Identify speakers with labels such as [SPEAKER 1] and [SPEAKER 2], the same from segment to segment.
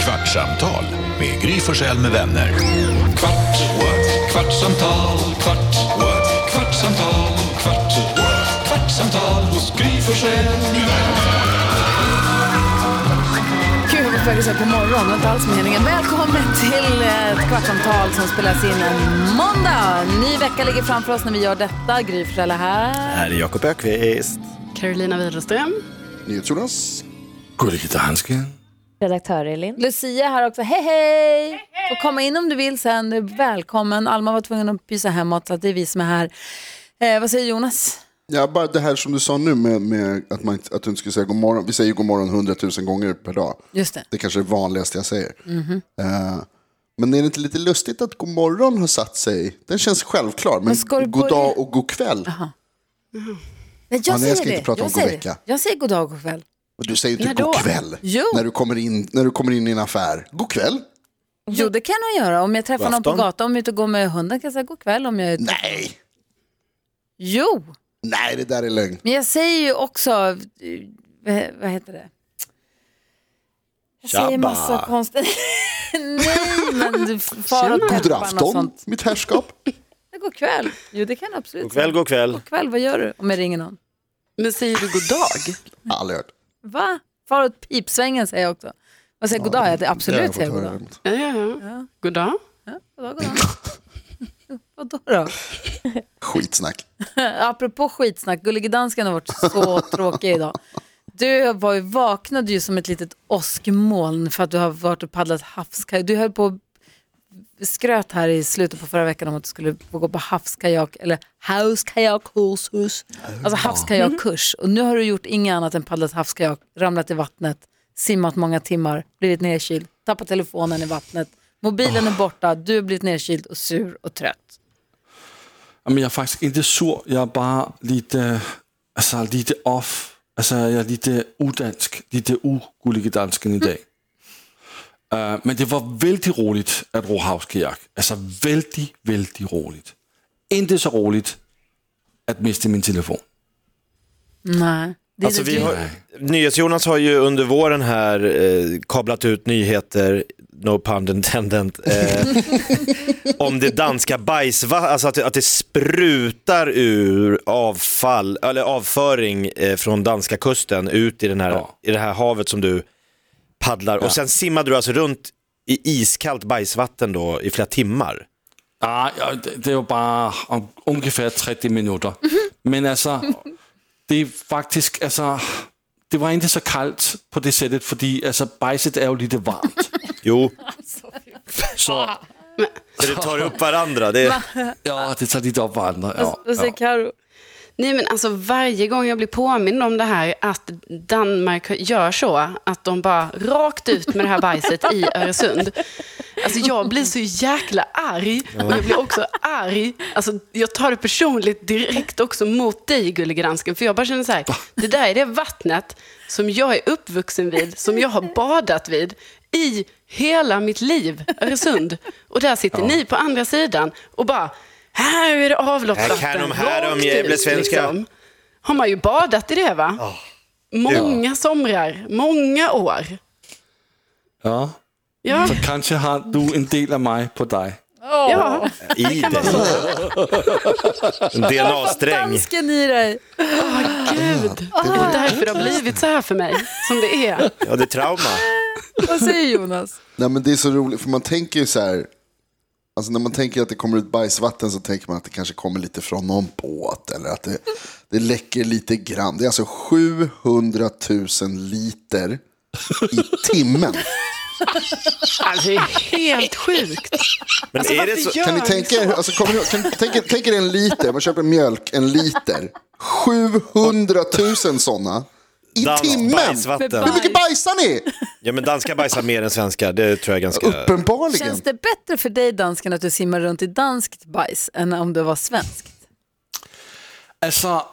[SPEAKER 1] Kvartsamtal med Gry Forssell med vänner. Kvart, what? kvartsamtal, kvart, what? kvartsamtal, kvart, what? kvartsamtal hos Gry Forssell med vänner.
[SPEAKER 2] Gud, jag var på väg att säga på morgon. Det var inte alls meningen. Välkommen till eh, ett kvartsamtal som spelas in en måndag. Ny vecka ligger framför oss när vi gör detta. Gry Forssell är här.
[SPEAKER 3] Här är Jakob Ökvist.
[SPEAKER 4] Carolina Widerström.
[SPEAKER 5] NyhetsJonas.
[SPEAKER 3] Gullige dansken.
[SPEAKER 6] Redaktör Elin.
[SPEAKER 2] Lucia är här också. Hej, hej! Får komma in om du vill sen. Du är Välkommen. Alma var tvungen att pysa hemåt, så att det är vi som är här. Eh, vad säger Jonas?
[SPEAKER 5] Ja, bara det här som du sa nu med, med att, man, inte- att du inte skulle säga god morgon. Vi säger ju god morgon hundratusen gånger per dag.
[SPEAKER 2] Just det.
[SPEAKER 5] Det kanske är det vanligaste jag säger.
[SPEAKER 2] Mhm.
[SPEAKER 5] Eh, men är det inte lite lustigt att god morgon har satt sig? Den känns självklar, men
[SPEAKER 2] ska du
[SPEAKER 5] god
[SPEAKER 2] börja-
[SPEAKER 5] dag och god kväll.
[SPEAKER 2] Nej,
[SPEAKER 5] Ja,
[SPEAKER 2] jag
[SPEAKER 5] nej,
[SPEAKER 2] säger
[SPEAKER 5] jag ska
[SPEAKER 2] det.
[SPEAKER 5] inte prata
[SPEAKER 2] jag
[SPEAKER 5] om god
[SPEAKER 2] säger
[SPEAKER 5] vecka.
[SPEAKER 2] Det. Jag säger god dag och kväll.
[SPEAKER 5] Och du säger
[SPEAKER 4] När
[SPEAKER 5] inte god
[SPEAKER 4] då?
[SPEAKER 5] kväll
[SPEAKER 2] Jo.
[SPEAKER 5] när du, kommer in, när du kommer in i en affär. God kväll?
[SPEAKER 2] Jo, det kan jag göra. Om jag träffar
[SPEAKER 3] God
[SPEAKER 2] någon på
[SPEAKER 3] afton.
[SPEAKER 2] gatan, om jag är ute och går med hunden kan jag säga god kväll. Om jag... är-
[SPEAKER 5] Nej,
[SPEAKER 2] Jo,
[SPEAKER 5] nej det där är lögn.
[SPEAKER 2] men jag säger ju också, eh, vad heter det? Jag säger
[SPEAKER 3] Tjabba.
[SPEAKER 2] massa konstigt. Nej, men du far åt
[SPEAKER 5] God
[SPEAKER 2] pepparn och
[SPEAKER 5] afton,
[SPEAKER 2] sånt.
[SPEAKER 5] mitt herrskap.
[SPEAKER 2] God kväll. Jo, det kan jag absolut
[SPEAKER 3] God kväll,
[SPEAKER 2] säga.
[SPEAKER 3] god kväll.
[SPEAKER 2] God kväll, vad gör du om jag ringer någon?
[SPEAKER 4] Men säger du god dag?
[SPEAKER 5] Aldrig hört.
[SPEAKER 2] Va? Far åt pipsvängen säger jag också. Vad säger goddag? Jag
[SPEAKER 5] Det har
[SPEAKER 2] absolut
[SPEAKER 5] jag fått
[SPEAKER 2] säger jag
[SPEAKER 5] höra
[SPEAKER 2] goddag.
[SPEAKER 5] däremot.
[SPEAKER 4] Ja, ja, ja. God dag.
[SPEAKER 2] Goddag, goddag. Vadå då?
[SPEAKER 5] Skitsnack.
[SPEAKER 2] Apropå skitsnack, Gullige Dansken har varit så tråkig idag. Du var ju, vaknade ju som ett litet åskmoln för att du har varit och paddlat havskajak. Du höll på och skröt här i slutet på förra veckan om att du skulle få gå på havskajak eller hauskajak, hus, hus. Alltså havskajakkurs. Och nu har du gjort inget annat än paddlat havskajak, ramlat i vattnet, simmat många timmar, blivit nedkyld, tappat telefonen i vattnet, mobilen är borta, du har blivit nedkyld och sur och trött.
[SPEAKER 7] Men jag är faktiskt inte sur, jag är bara lite, alltså, lite off. Alltså, jag är lite odansk, lite ogullig dansken idag. Eh, men det var väldigt roligt att ro havskajak. Alltså väldigt, väldigt roligt. Inte så roligt att mista min telefon.
[SPEAKER 2] Nej. Det är
[SPEAKER 3] Alltså,
[SPEAKER 2] det
[SPEAKER 3] vi
[SPEAKER 2] du-
[SPEAKER 3] har, NyhetsJonas har ju under våren här eh, kablat ut nyheter, no pun intended, eh, om det danska bajsvattnet, alltså att, det- att det sprutar ur avfall, eller avföring eh, från danska kusten ut i, den här,
[SPEAKER 7] Ja.
[SPEAKER 3] i det här havet som du paddlar. Och sen simmade du alltså runt i iskallt bajsvatten då i flera timmar.
[SPEAKER 7] Nej, Ah, ja, det- det var bara om, ungefär 30 minuter. Men alltså, det är faktiskt, alltså, det var inte så kallt på det sättet, för alltså, bajset är ju lite varmt.
[SPEAKER 3] Jo,
[SPEAKER 7] Så,
[SPEAKER 3] så det tar upp varandra. Det,
[SPEAKER 7] Ja, det tar lite upp varandra. Ja,
[SPEAKER 2] Vad säger
[SPEAKER 7] ja.
[SPEAKER 2] Karo?
[SPEAKER 4] Nej, men alltså varje gång jag blir påmind om det här att Danmark gör så, att de bara rakt ut med det här bajset i Öresund. Alltså jag blir så jäkla arg. Men jag blir också arg. Alltså jag tar det personligt direkt också mot dig, gullige dansken. För jag bara känner så här, det där är det vattnet som jag är uppvuxen vid, som jag har badat vid i hela mitt liv, Öresund. Och där sitter ni på andra sidan och bara, här är det avloppsvatten.
[SPEAKER 3] Här kan de, här de
[SPEAKER 4] rakt
[SPEAKER 3] jävla
[SPEAKER 4] ut,
[SPEAKER 3] svenskar."
[SPEAKER 4] typ, liksom. Har man ju badat i det va? Många somrar, många år.
[SPEAKER 7] ja.
[SPEAKER 4] Ja,
[SPEAKER 7] Så kanske har du en del av mig på dig.
[SPEAKER 4] ja.
[SPEAKER 3] I dig. En DNA-sträng.
[SPEAKER 2] Dansken i dig.
[SPEAKER 4] gud. Det är därför det har blivit så här för mig, som det är.
[SPEAKER 3] Ja, det är trauma.
[SPEAKER 2] Vad säger Jonas?
[SPEAKER 5] Nej men det är så roligt, för man tänker ju så här. Alltså när man tänker att det kommer ut bajsvatten så tänker man att det kanske kommer lite från någon båt eller att det, det läcker lite grann. Det är alltså 700 000 liter i timmen.
[SPEAKER 4] Alltså det är helt sjukt.
[SPEAKER 3] Men
[SPEAKER 2] Alltså,
[SPEAKER 3] är det så?
[SPEAKER 4] Varför gör
[SPEAKER 5] Kan ni
[SPEAKER 4] ni
[SPEAKER 5] tänka er, alltså, kommer ni, ihåg- kan, tänk, er- tänk er en liter, man köper mjölk, en liter. 700 000 sådana i
[SPEAKER 3] Danskt
[SPEAKER 5] timmen.
[SPEAKER 3] bajsvatten.
[SPEAKER 5] Hur mycket bajsar ni?
[SPEAKER 3] Ja, men danska bajsar mer än svenskar. Det tror jag ganska...
[SPEAKER 5] Uppenbarligen.
[SPEAKER 2] Känns det bättre för dig dansken att du simmar runt i danskt bajs än om du var svensk?
[SPEAKER 7] Alltså,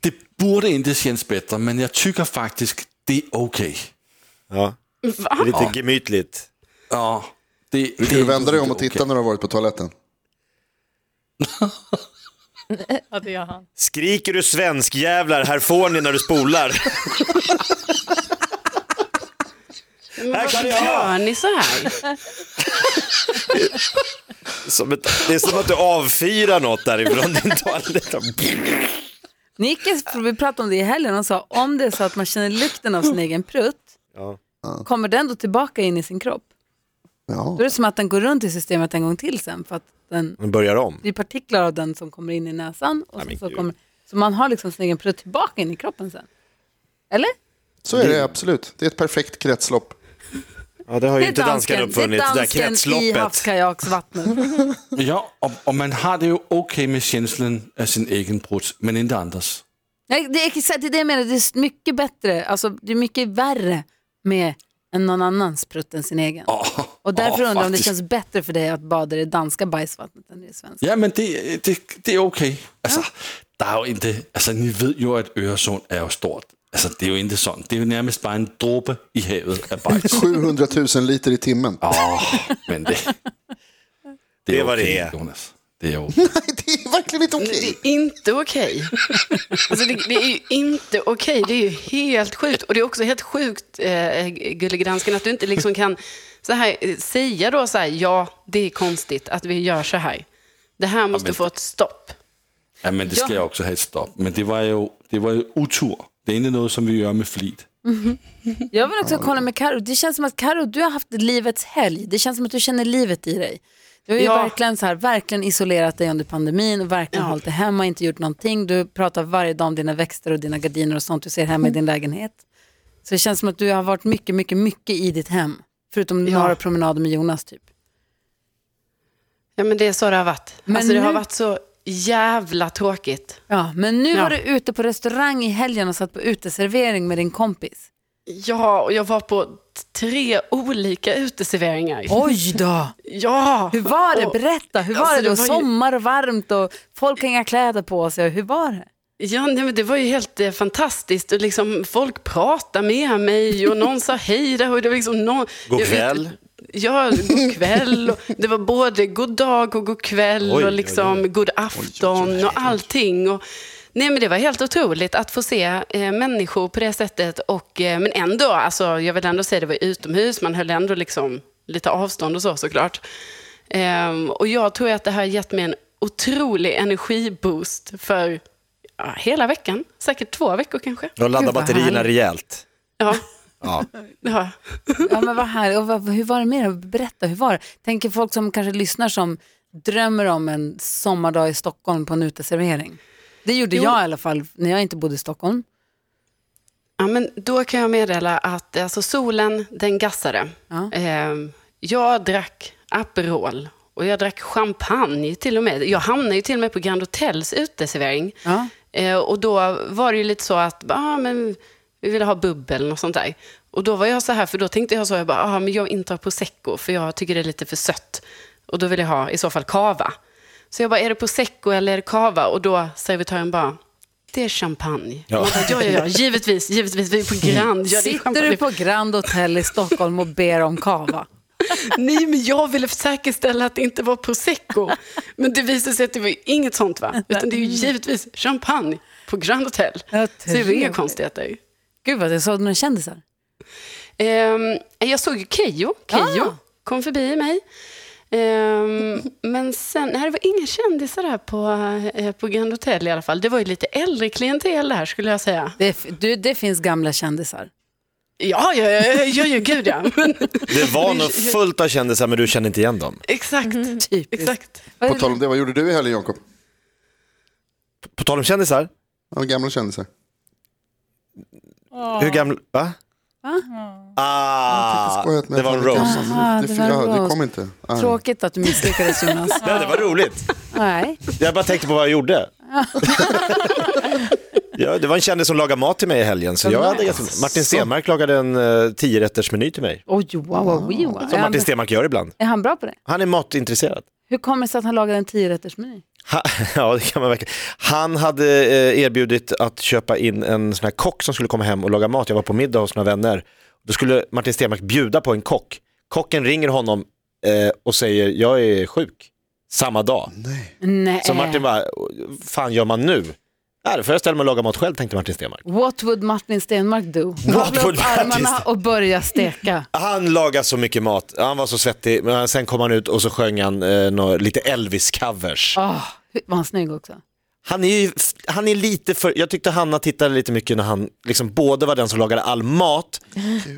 [SPEAKER 7] det borde inte kännas bättre, men jag tycker faktiskt det är okej.
[SPEAKER 3] Ja. Det är lite gemytligt.
[SPEAKER 7] Ja, det,
[SPEAKER 5] Du kan ju vända dig om och titta när du har varit på toaletten.
[SPEAKER 3] Skriker du svensk jävlar här får ni när du spolar.
[SPEAKER 4] Men
[SPEAKER 3] här kan jag ha!
[SPEAKER 4] Gör ni så här?
[SPEAKER 3] Som ett, det är som att du avfyrar något därifrån din toalett.
[SPEAKER 2] Nickis, vi pratade om det i helgen, han sa om det är så att man känner lukten av sin egen prutt,
[SPEAKER 3] Ja.
[SPEAKER 2] kommer den då tillbaka in i sin kropp?
[SPEAKER 5] Ja.
[SPEAKER 2] Då är det som att den går runt i systemet en gång till sen för att den,
[SPEAKER 3] Den börjar om.
[SPEAKER 2] det är partiklar av den som kommer in i näsan och sen
[SPEAKER 3] men
[SPEAKER 2] så,
[SPEAKER 3] gud.
[SPEAKER 2] kommer, så man har liksom sin egen prutt tillbaka in i kroppen sen. Eller?
[SPEAKER 5] Så är det absolut. Det är ett perfekt kretslopp.
[SPEAKER 3] Ja, det har ju
[SPEAKER 2] är
[SPEAKER 3] inte danskarna
[SPEAKER 2] dansken-
[SPEAKER 3] uppfunnit, det, där
[SPEAKER 2] dansken i
[SPEAKER 3] kretsloppet.
[SPEAKER 2] havskajaksvattnet.
[SPEAKER 7] Ja, och, och man har det ju okej med känslan av sin egen prutt, men inte andras.
[SPEAKER 2] Nej, det, är exakt det jag menar, det är mycket bättre, alltså det är mycket värre med än någon annans prutt än sin egen.
[SPEAKER 4] Ah.
[SPEAKER 2] Och därför undrar
[SPEAKER 7] ja,
[SPEAKER 2] jag om det
[SPEAKER 7] faktiskt.
[SPEAKER 2] känns bättre för dig att bada i det danska bajsvattnet än i det svenska.
[SPEAKER 7] Ja, men det, det, det är okej. Altså, der er jo ikke, altså, ni ved jo, at Øresund er jo stort. Altså, det er jo ikke sådan. Det er jo nærmest bare en dråbe i havet af bajs.
[SPEAKER 5] 700 000 liter i timmen.
[SPEAKER 7] Åh, men det...
[SPEAKER 3] Det er,
[SPEAKER 7] var
[SPEAKER 3] hvad det er.
[SPEAKER 7] Jonas. Det er jo...
[SPEAKER 5] Nej, det är verkligen inte okej.
[SPEAKER 2] Mm,
[SPEAKER 4] Det är inte okej. Alltså det, det är ju inte okej. Det är ju helt sjukt. Och det är också helt sjukt, eh, Gullegransken, att du inte liksom kan så här, eh, säga då så här, ja, det är konstigt att vi gör så här. Det här måste
[SPEAKER 7] men-
[SPEAKER 4] få ett stopp.
[SPEAKER 7] Ja, men det skal
[SPEAKER 2] Ja.
[SPEAKER 7] jeg også have et stop. Men det var jo, det var jo utur. Det er ikke noget, som vi gør med flit.
[SPEAKER 2] Jag vill också kolla med Karo. det känns som att Karo, du har haft livets helg. Det känns som att du känner livet i dig. Du har ju
[SPEAKER 4] Ja.
[SPEAKER 2] verkligen, så här, verkligen isolerat dig under pandemin och verkligen
[SPEAKER 4] Ja.
[SPEAKER 2] hållit dig hemma, inte gjort någonting. Du pratar varje dag om dina växter och dina gardiner och sånt du ser
[SPEAKER 4] Mm.
[SPEAKER 2] hemma i din lägenhet. Så det känns som att du har varit mycket, mycket, mycket i ditt hem. Förutom
[SPEAKER 4] Ja.
[SPEAKER 2] några promenader med Jonas typ.
[SPEAKER 4] Ja, men det är så det har varit.
[SPEAKER 2] Men
[SPEAKER 4] alltså, det har
[SPEAKER 2] nu-
[SPEAKER 4] varit så jävla tråkigt.
[SPEAKER 2] Ja, men nu
[SPEAKER 4] Ja.
[SPEAKER 2] var du ute på restaurang i helgen och satt på uteservering med din kompis.
[SPEAKER 4] Ja, och jag var på t- tre olika uteserveringar.
[SPEAKER 2] Oj då!
[SPEAKER 4] Ja!
[SPEAKER 2] Hur var det?
[SPEAKER 4] Och-
[SPEAKER 2] Berätta. Hur var
[SPEAKER 4] Alltså,
[SPEAKER 2] det?
[SPEAKER 4] det
[SPEAKER 2] då?
[SPEAKER 4] var ju-
[SPEAKER 2] Sommar och varmt och folk har inga kläder på sig. Hur var det?
[SPEAKER 4] Ja, nej, men det var ju helt eh, fantastiskt. Och liksom, folk pratade med mig och någon sa hej då. Och det var liksom någon,
[SPEAKER 3] God
[SPEAKER 4] jag vet-
[SPEAKER 3] kväll.
[SPEAKER 4] Ja, god kväll. Och det var både god dag och god kväll
[SPEAKER 3] Oj, oj,
[SPEAKER 4] och
[SPEAKER 3] oj.
[SPEAKER 4] liksom god afton och allting. Och, nej, men det var helt otroligt att få se eh, människor på det sättet. Och, eh, men ändå, alltså, jag vill ändå säga det var utomhus. Man höll ändå liksom lite avstånd och så såklart. Ehm, och jag tror att det här har gett mig en otrolig energiboost för ja, hela veckan. Säkert två veckor kanske.
[SPEAKER 3] Jag laddar
[SPEAKER 2] Gud, vad
[SPEAKER 3] batterierna
[SPEAKER 2] härligt.
[SPEAKER 3] rejält.
[SPEAKER 4] Ja.
[SPEAKER 3] Ja.
[SPEAKER 4] ja.
[SPEAKER 2] Ja, men vad här, och vad, hur var det med det? Berätta, hur var det? Tänker folk som kanske lyssnar som drömmer om en sommardag i Stockholm på en uteservering. Det gjorde
[SPEAKER 4] Jo.
[SPEAKER 2] jag i alla fall när jag inte bodde i Stockholm.
[SPEAKER 4] Ja, men då kan jag meddela att alltså, solen, den gassade.
[SPEAKER 2] Ja.
[SPEAKER 4] Ehm, jag drack Aperol och jag drack champagne till och med. Jag hamnade ju till och med på Grand Hotels uteservering.
[SPEAKER 2] Ja.
[SPEAKER 4] Eh, och då var det ju lite så att, ah, men vi ville ha bubbel och sånt där. Och då var jag så här, för då tänkte jag så, jag bara, ah, men jag inte har prosecco för jag tycker det är lite för sött. Och då vill jag ha i så fall cava. Så jag bara, är det prosecco eller är det cava? Och då servitören bara, det är champagne. Ja. Man bara, ja, ja, ja, givetvis, givetvis, vi är på liksom Grand. Ja, det är
[SPEAKER 2] Sitter
[SPEAKER 4] champagne."
[SPEAKER 2] du på Grand Hotel i Stockholm och ber om kava?
[SPEAKER 4] Nej, men jag ville säkerställa att det inte var prosecco. Men det visade sig att det var ju inget sånt, va? Utan det är ju givetvis champagne på Grand Hotel.
[SPEAKER 2] Ja,
[SPEAKER 4] Så det var inga
[SPEAKER 2] trevligt.
[SPEAKER 4] konstigheter.
[SPEAKER 2] Gud vad jag såg några kändisar.
[SPEAKER 4] Ehm, jag såg ju Keyyo. Keyyo
[SPEAKER 2] Ah.
[SPEAKER 4] kom förbi mig. Ehm, men sen, nej, det var inga kändisar här på, eh, på Grand Hotel i alla fall. Det var ju lite äldre klientel där skulle jag säga.
[SPEAKER 2] Det, f- du, det finns gamla kändisar.
[SPEAKER 4] Ja, ja, ja, ja, ja, ja gud ja. Men,
[SPEAKER 3] Det var nog fullt av kändisar, men du kände inte igen dem.
[SPEAKER 4] exakt,
[SPEAKER 2] Typiskt.
[SPEAKER 4] exakt.
[SPEAKER 2] Typ. Vad
[SPEAKER 5] På
[SPEAKER 2] är det-
[SPEAKER 5] tal om det, vad gjorde du i helgen Jakob?
[SPEAKER 3] På tal om kändisar,
[SPEAKER 5] Ja, gamla kändisar.
[SPEAKER 3] hur gamla... Va? Ah,
[SPEAKER 5] Skojat med
[SPEAKER 3] det var en
[SPEAKER 5] att jag
[SPEAKER 3] roast.
[SPEAKER 5] kan-
[SPEAKER 2] Aha,
[SPEAKER 5] det,
[SPEAKER 2] det
[SPEAKER 5] det,
[SPEAKER 2] var en
[SPEAKER 5] ja, det
[SPEAKER 2] roast.
[SPEAKER 5] kom inte. Ah.
[SPEAKER 2] Tråkigt att du misslyckades Jonas.
[SPEAKER 3] Nej, det var roligt.
[SPEAKER 2] Nej.
[SPEAKER 3] Jag bara tänkte på vad jag gjorde. ja, det var en kändis som lagade mat till mig i helgen. Så jag hade, ganska- Martin Stenmark lagade en uh, tiorättersmeny till mig.
[SPEAKER 2] Oj, wow, wow, wow.
[SPEAKER 3] Som
[SPEAKER 2] Är han,
[SPEAKER 3] Martin Stenmark gör ibland.
[SPEAKER 2] är han bra på det?
[SPEAKER 3] Han är matintresserad.
[SPEAKER 2] Hur kommer det sig att han lagade en tiorättersmeny?
[SPEAKER 3] Ha, ja, det kan man verkligen. Han hade eh, erbjudit att köpa in en sån här kock som skulle komma hem och laga mat. Jag var på middag hos några vänner. Då skulle Martin Stenmark bjuda på en kock. Kocken ringer honom eh, och säger jag är sjuk. Samma dag.
[SPEAKER 5] Nej.
[SPEAKER 2] Nej.
[SPEAKER 3] Så Martin bara, fan gör man nu?
[SPEAKER 6] Ja, då får jag ställa mig och laga mat själv, tänkte Martin Stenmarck.
[SPEAKER 2] What would Martin Stenmark do?
[SPEAKER 3] What
[SPEAKER 2] Kavla
[SPEAKER 3] would
[SPEAKER 2] upp
[SPEAKER 3] Martin
[SPEAKER 2] armarna
[SPEAKER 3] Sten-
[SPEAKER 2] och börja steka.
[SPEAKER 3] Han lagade så mycket mat, han var så svettig, men sen kom han ut och så sjöng han eh, nå- lite Elvis-covers.
[SPEAKER 2] Oh, var han snygg också?
[SPEAKER 3] Han är, ju, han är lite för, jag tyckte Hanna tittade lite mycket när han liksom både var den som lagade all mat,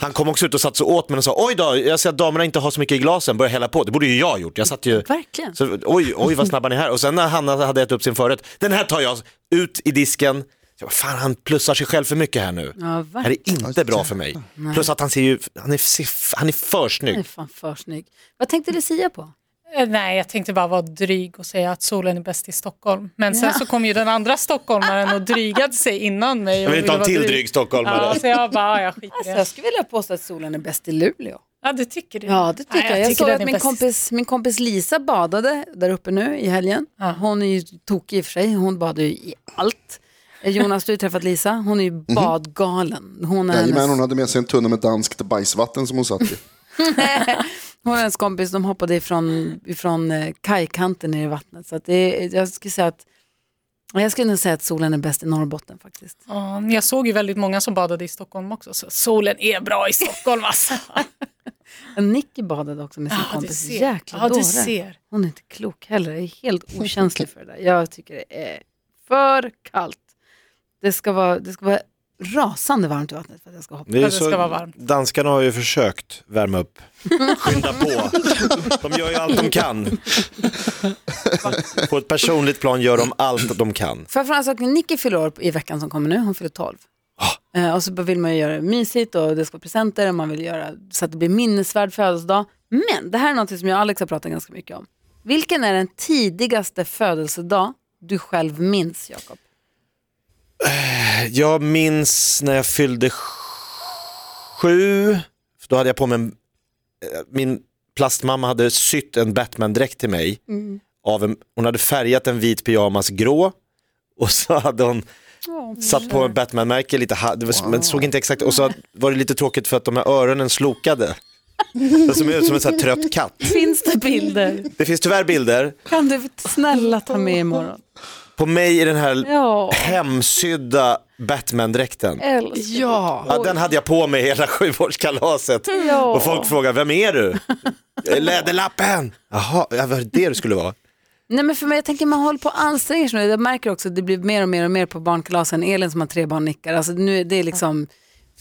[SPEAKER 3] han kom också ut och satt så åt men och sa oj då, jag ser att damerna inte har så mycket i glasen, börja hälla på, det borde ju jag ha gjort, jag satt ju
[SPEAKER 2] Verkligen.
[SPEAKER 3] så, oj, oj vad snabba ni är här. Och sen när Hanna hade ätit upp sin förrätt, den här tar jag ut i disken. Så, jag bara, Fan han plussar sig själv för mycket här nu.
[SPEAKER 2] Ja,
[SPEAKER 3] Det här
[SPEAKER 2] verkligen.
[SPEAKER 3] är inte bra för mig. Plus att han ser ju, han är, ser- han är för snygg.
[SPEAKER 2] Han är fan för snygg. Vad tänkte Lucia på?
[SPEAKER 8] Eh, Nej, jag tänkte bara vara dryg och säga att solen är bäst i Stockholm. Men sen så kom ju den andra stockholmaren och drygade sig innan mig.
[SPEAKER 3] Jag
[SPEAKER 8] och
[SPEAKER 3] vill inte ha en
[SPEAKER 8] vara
[SPEAKER 3] till dryg stockholmare.
[SPEAKER 8] Ja, så jag bara, "Ah, jag skiter i
[SPEAKER 2] Alltså,
[SPEAKER 8] det.
[SPEAKER 2] jag skulle vilja påstå att solen är bäst i Luleå.
[SPEAKER 8] Ja, du tycker det?
[SPEAKER 2] Ja, det tycker
[SPEAKER 8] Nej,
[SPEAKER 2] jag. Jag, såg
[SPEAKER 8] den
[SPEAKER 2] att
[SPEAKER 8] är
[SPEAKER 2] min
[SPEAKER 8] bäst.
[SPEAKER 2] kompis, min kompis Lisa badade där uppe nu i helgen. Hon är ju tokig i och för sig, hon badar ju i allt. Eh, Jonas, du har ju träffat Lisa, hon är ju badgalen. Hon är
[SPEAKER 5] Mhm. Jajamän,
[SPEAKER 2] hennes,
[SPEAKER 5] hon hade med sig en tunna med danskt bajsvatten som hon satt i.
[SPEAKER 2] hon är hennes kompis, de hoppade ifrån, ifrån eh, kajkanten ner i vattnet. Så att det, är- jag skulle säga att jag skulle nog säga att solen är bäst i Norrbotten faktiskt.
[SPEAKER 8] Ja, jag såg ju väldigt många som badade i Stockholm också, så solen är bra i Stockholm alltså.
[SPEAKER 2] Nicky badade också med sin
[SPEAKER 8] Ja, du
[SPEAKER 2] kompis.
[SPEAKER 8] Ah, ser.
[SPEAKER 2] Jäkla
[SPEAKER 8] Ja, du
[SPEAKER 2] dåre.
[SPEAKER 8] ser.
[SPEAKER 2] Hon är inte klok heller. Jag är helt okänslig för det där. Jag tycker det är för kallt. Det ska vara, det ska vara rasande varmt i vattnet för att jag ska hoppa.
[SPEAKER 3] är ju
[SPEAKER 8] Ja, det ska vara varmt.
[SPEAKER 3] Danskarna har ju försökt värma upp, skynda på. De gör ju allt de kan. På ett personligt plan gör de allt de kan.
[SPEAKER 2] För för en sak, Nicky fyller år i veckan som kommer nu. Hon fyller 12. Eh, och så vill man ju göra det mysigt och det ska vara presenter och man vill göra så att det blir minnesvärd födelsedag. Men det här är något som jag och Alex har pratat ganska mycket om. Vilken är den tidigaste födelsedag du själv minns, Jakob?
[SPEAKER 3] Jag minns när jag fyllde sju, för då hade jag på mig en, eh, min plastmamma hade sytt en Batman-dräkt till mig. Av en, hon hade färgat en vit pyjamas grå och så hade hon satt på en Batman-märke lite, ha- det var, men såg inte exakt, och så var det lite tråkigt för att de här öronen slokade. Det såg ut som en sån här trött katt.
[SPEAKER 2] Finns det bilder?
[SPEAKER 3] Det finns tyvärr bilder
[SPEAKER 2] Kan du snälla ta med imorgon?
[SPEAKER 3] på mig i den här
[SPEAKER 2] Ja,
[SPEAKER 3] hemsydda Batman-dräkten.
[SPEAKER 2] älskar.
[SPEAKER 4] Ja.
[SPEAKER 3] Ja, den hade jag på mig hela sjuårskalaset.
[SPEAKER 2] Ja.
[SPEAKER 3] Och folk frågar, vem är du? "Jag är Läderlappen! Jaha, ja, var det det du skulle vara?
[SPEAKER 2] Nej men för mig, jag tänker man håller på och anstränger sig nu. Jag märker också att det blir mer och mer och mer på barnkalasen. Elin som har tre barn nickar. Alltså nu är det liksom,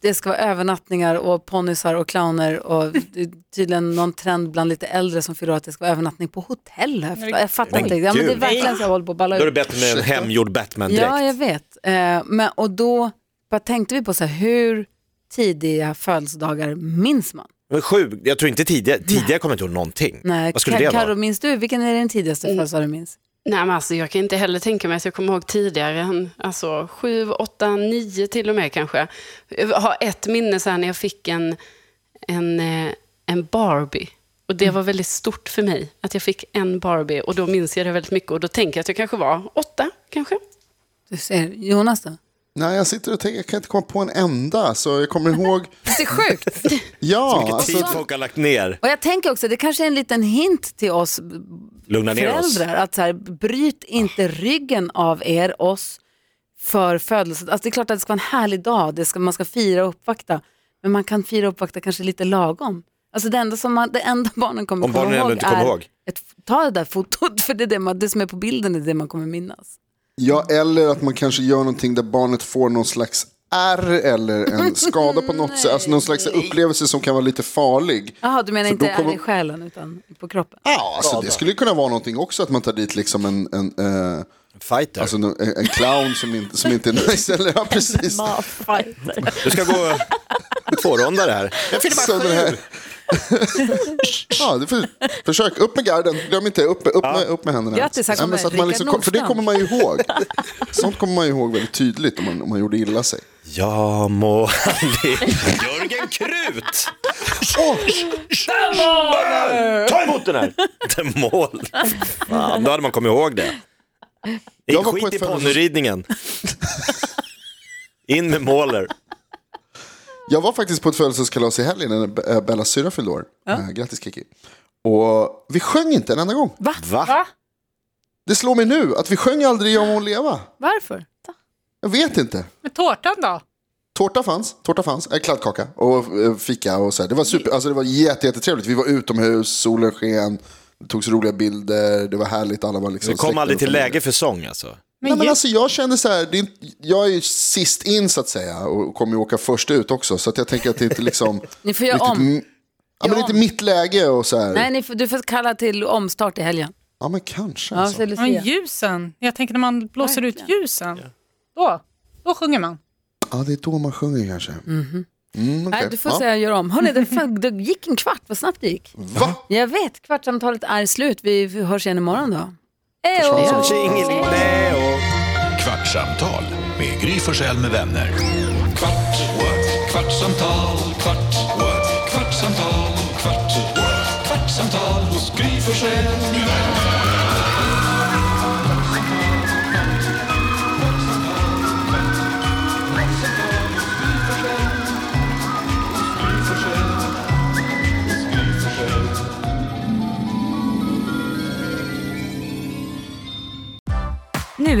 [SPEAKER 2] det ska vara övernattningar och ponnysar och clowner och det är tydligen någon trend bland lite äldre som fyller år att det ska vara övernattning på hotell. Jag förstår- Jag fattar inte. riktigt. Ja, men det är
[SPEAKER 3] gud.
[SPEAKER 2] verkligen så jag håller på att balla
[SPEAKER 3] Då är det
[SPEAKER 2] ur.
[SPEAKER 3] bättre med en hemgjord Batman-dräkt.
[SPEAKER 2] Ja, jag vet. Eh, men, och då bara tänkte vi på så här, hur tidiga födelsedagar minns man?
[SPEAKER 3] Men sju, jag tror inte tidigare, tidigare kommer jag inte ihåg någonting.
[SPEAKER 2] Nej,
[SPEAKER 3] Vad skulle
[SPEAKER 2] Ka-
[SPEAKER 3] det
[SPEAKER 2] Karo,
[SPEAKER 3] vara?
[SPEAKER 2] minns du? Vilken är den tidigaste födelsedag du minns?
[SPEAKER 4] Nej, men alltså, jag kan inte heller tänka mig att jag kommer ihåg tidigare än alltså, sju, åtta, nio till och med kanske. Jag har ett minne så här när jag fick en, en, eh, en Barbie. Och det var väldigt stort för mig, att jag fick en Barbie. Och då minns jag det väldigt mycket. Och då tänker jag att jag kanske var åtta, kanske.
[SPEAKER 2] Du ser, Jonas då?
[SPEAKER 5] Nej, jag sitter och tänker, jag kan inte komma på en enda. Så jag kommer ihåg,
[SPEAKER 2] Det är sjukt.
[SPEAKER 5] ja, alltså,
[SPEAKER 3] Tid folk har lagt ner,
[SPEAKER 2] Och jag tänker också, det kanske är en liten hint till oss
[SPEAKER 3] lugna ner oss. Ah.
[SPEAKER 2] föräldrar att så här, bryt inte ryggen av er, oss, för födelsedag. Alltså det är klart att det ska vara en härlig dag, det ska, man ska fira och uppvakta, men man kan fira och uppvakta kanske lite lagom. Alltså det enda, som man, det enda barnen kommer
[SPEAKER 3] Om barnen
[SPEAKER 2] komma
[SPEAKER 3] ändå
[SPEAKER 2] ihåg
[SPEAKER 3] inte kommer
[SPEAKER 2] är
[SPEAKER 3] ihåg.
[SPEAKER 2] Ett, ta det där fotot, för det, är det, man, det som är på bilden är det man kommer minnas.
[SPEAKER 5] ja, eller att man kanske gör någonting där barnet får någon slags ärr eller en skada på något sätt. Alltså någon slags upplevelse som kan vara lite farlig.
[SPEAKER 2] Jaha, du menar
[SPEAKER 5] För då
[SPEAKER 2] inte
[SPEAKER 5] kommer-
[SPEAKER 2] i själen utan på kroppen?
[SPEAKER 5] Ja, alltså, det skulle ju kunna vara någonting också, att man tar dit liksom en, en, eh,
[SPEAKER 3] Fighter.
[SPEAKER 5] alltså, en, en clown som inte, som inte är nice. Eller, ja, precis.
[SPEAKER 3] Du ska gå tvårondare här. Jag fyller bara
[SPEAKER 5] Så den här... ja, det för, försök, upp med garden, glöm inte, upp, upp, med, upp med händerna.
[SPEAKER 2] Grattis, här
[SPEAKER 5] Ja, men
[SPEAKER 2] kommer
[SPEAKER 5] så att man
[SPEAKER 2] Rickard
[SPEAKER 5] liksom, För det
[SPEAKER 2] Nordstrand.
[SPEAKER 5] kommer man ju ihåg. Sånt kommer man ju ihåg väldigt tydligt om man, om man gjorde illa sig.
[SPEAKER 3] Ja må han det. Jörgen Krut! Ta emot den här! Demol. Fan, då hade man kommit ihåg det.
[SPEAKER 5] Jag
[SPEAKER 3] In
[SPEAKER 5] var på
[SPEAKER 3] skit
[SPEAKER 5] ett
[SPEAKER 3] i
[SPEAKER 5] födelsedag-
[SPEAKER 3] ponnyridningen. In med måler.
[SPEAKER 5] Jag var faktiskt på ett födelsedagskalas i helgen när Be- eh, Bellas syrra fyllde år. Eh, Grattis Kiki. Och vi sjöng inte en enda gång.
[SPEAKER 3] Va?
[SPEAKER 5] Det slår mig nu att vi sjöng aldrig Jag må leva.
[SPEAKER 2] Varför?
[SPEAKER 5] Jag vet inte.
[SPEAKER 8] Men tårtan då?
[SPEAKER 5] Tårta fanns, tårta fanns, äh, kladdkaka och eh, fika och så här. Det var super, alltså det var jätte, jättetrevligt. Vi var utomhus, solen sken, det togs roliga bilder, det var härligt. Alla var liksom
[SPEAKER 3] Det kom
[SPEAKER 5] släkten
[SPEAKER 3] aldrig
[SPEAKER 5] och
[SPEAKER 3] till
[SPEAKER 5] familjen.
[SPEAKER 3] läge för sång alltså.
[SPEAKER 8] Men
[SPEAKER 5] Nej, men
[SPEAKER 8] ju-
[SPEAKER 5] alltså, jag kände så här, det är, inte- jag är ju sist in så att säga och kommer ju åka först ut också. Så att jag tänker att det inte liksom...
[SPEAKER 2] Ni får göra
[SPEAKER 5] riktigt,
[SPEAKER 2] om.
[SPEAKER 5] m- Ja, men det är inte mitt läge och så här.
[SPEAKER 2] Nej, ni får, du får kalla till omstart i helgen.
[SPEAKER 5] Ja, men kanske.
[SPEAKER 2] Ja,
[SPEAKER 5] Alltså.
[SPEAKER 2] så Lucia.
[SPEAKER 8] men ljusen. Jag tänker när man blåser ut ljusen. Då, då sjunger man.
[SPEAKER 5] Ja, det är då man sjunger kanske. Mm, okej.
[SPEAKER 2] Mhm. Nej, du får
[SPEAKER 5] ja.
[SPEAKER 2] säga gör om. Hörrni, det, fan, det gick en kvart, vad snabbt det gick.
[SPEAKER 5] Va?
[SPEAKER 2] Jag vet, kvartsamtalet är slut. Vi hörs igen imorgon då. Hej då!
[SPEAKER 1] Kvartsamtal med Gry Forssell med vänner. Kvart, what? kvartsamtal, kvart, what? kvartsamtal, kvart, what? kvartsamtal hos Gry Forssell med vänner.
[SPEAKER 9] Nu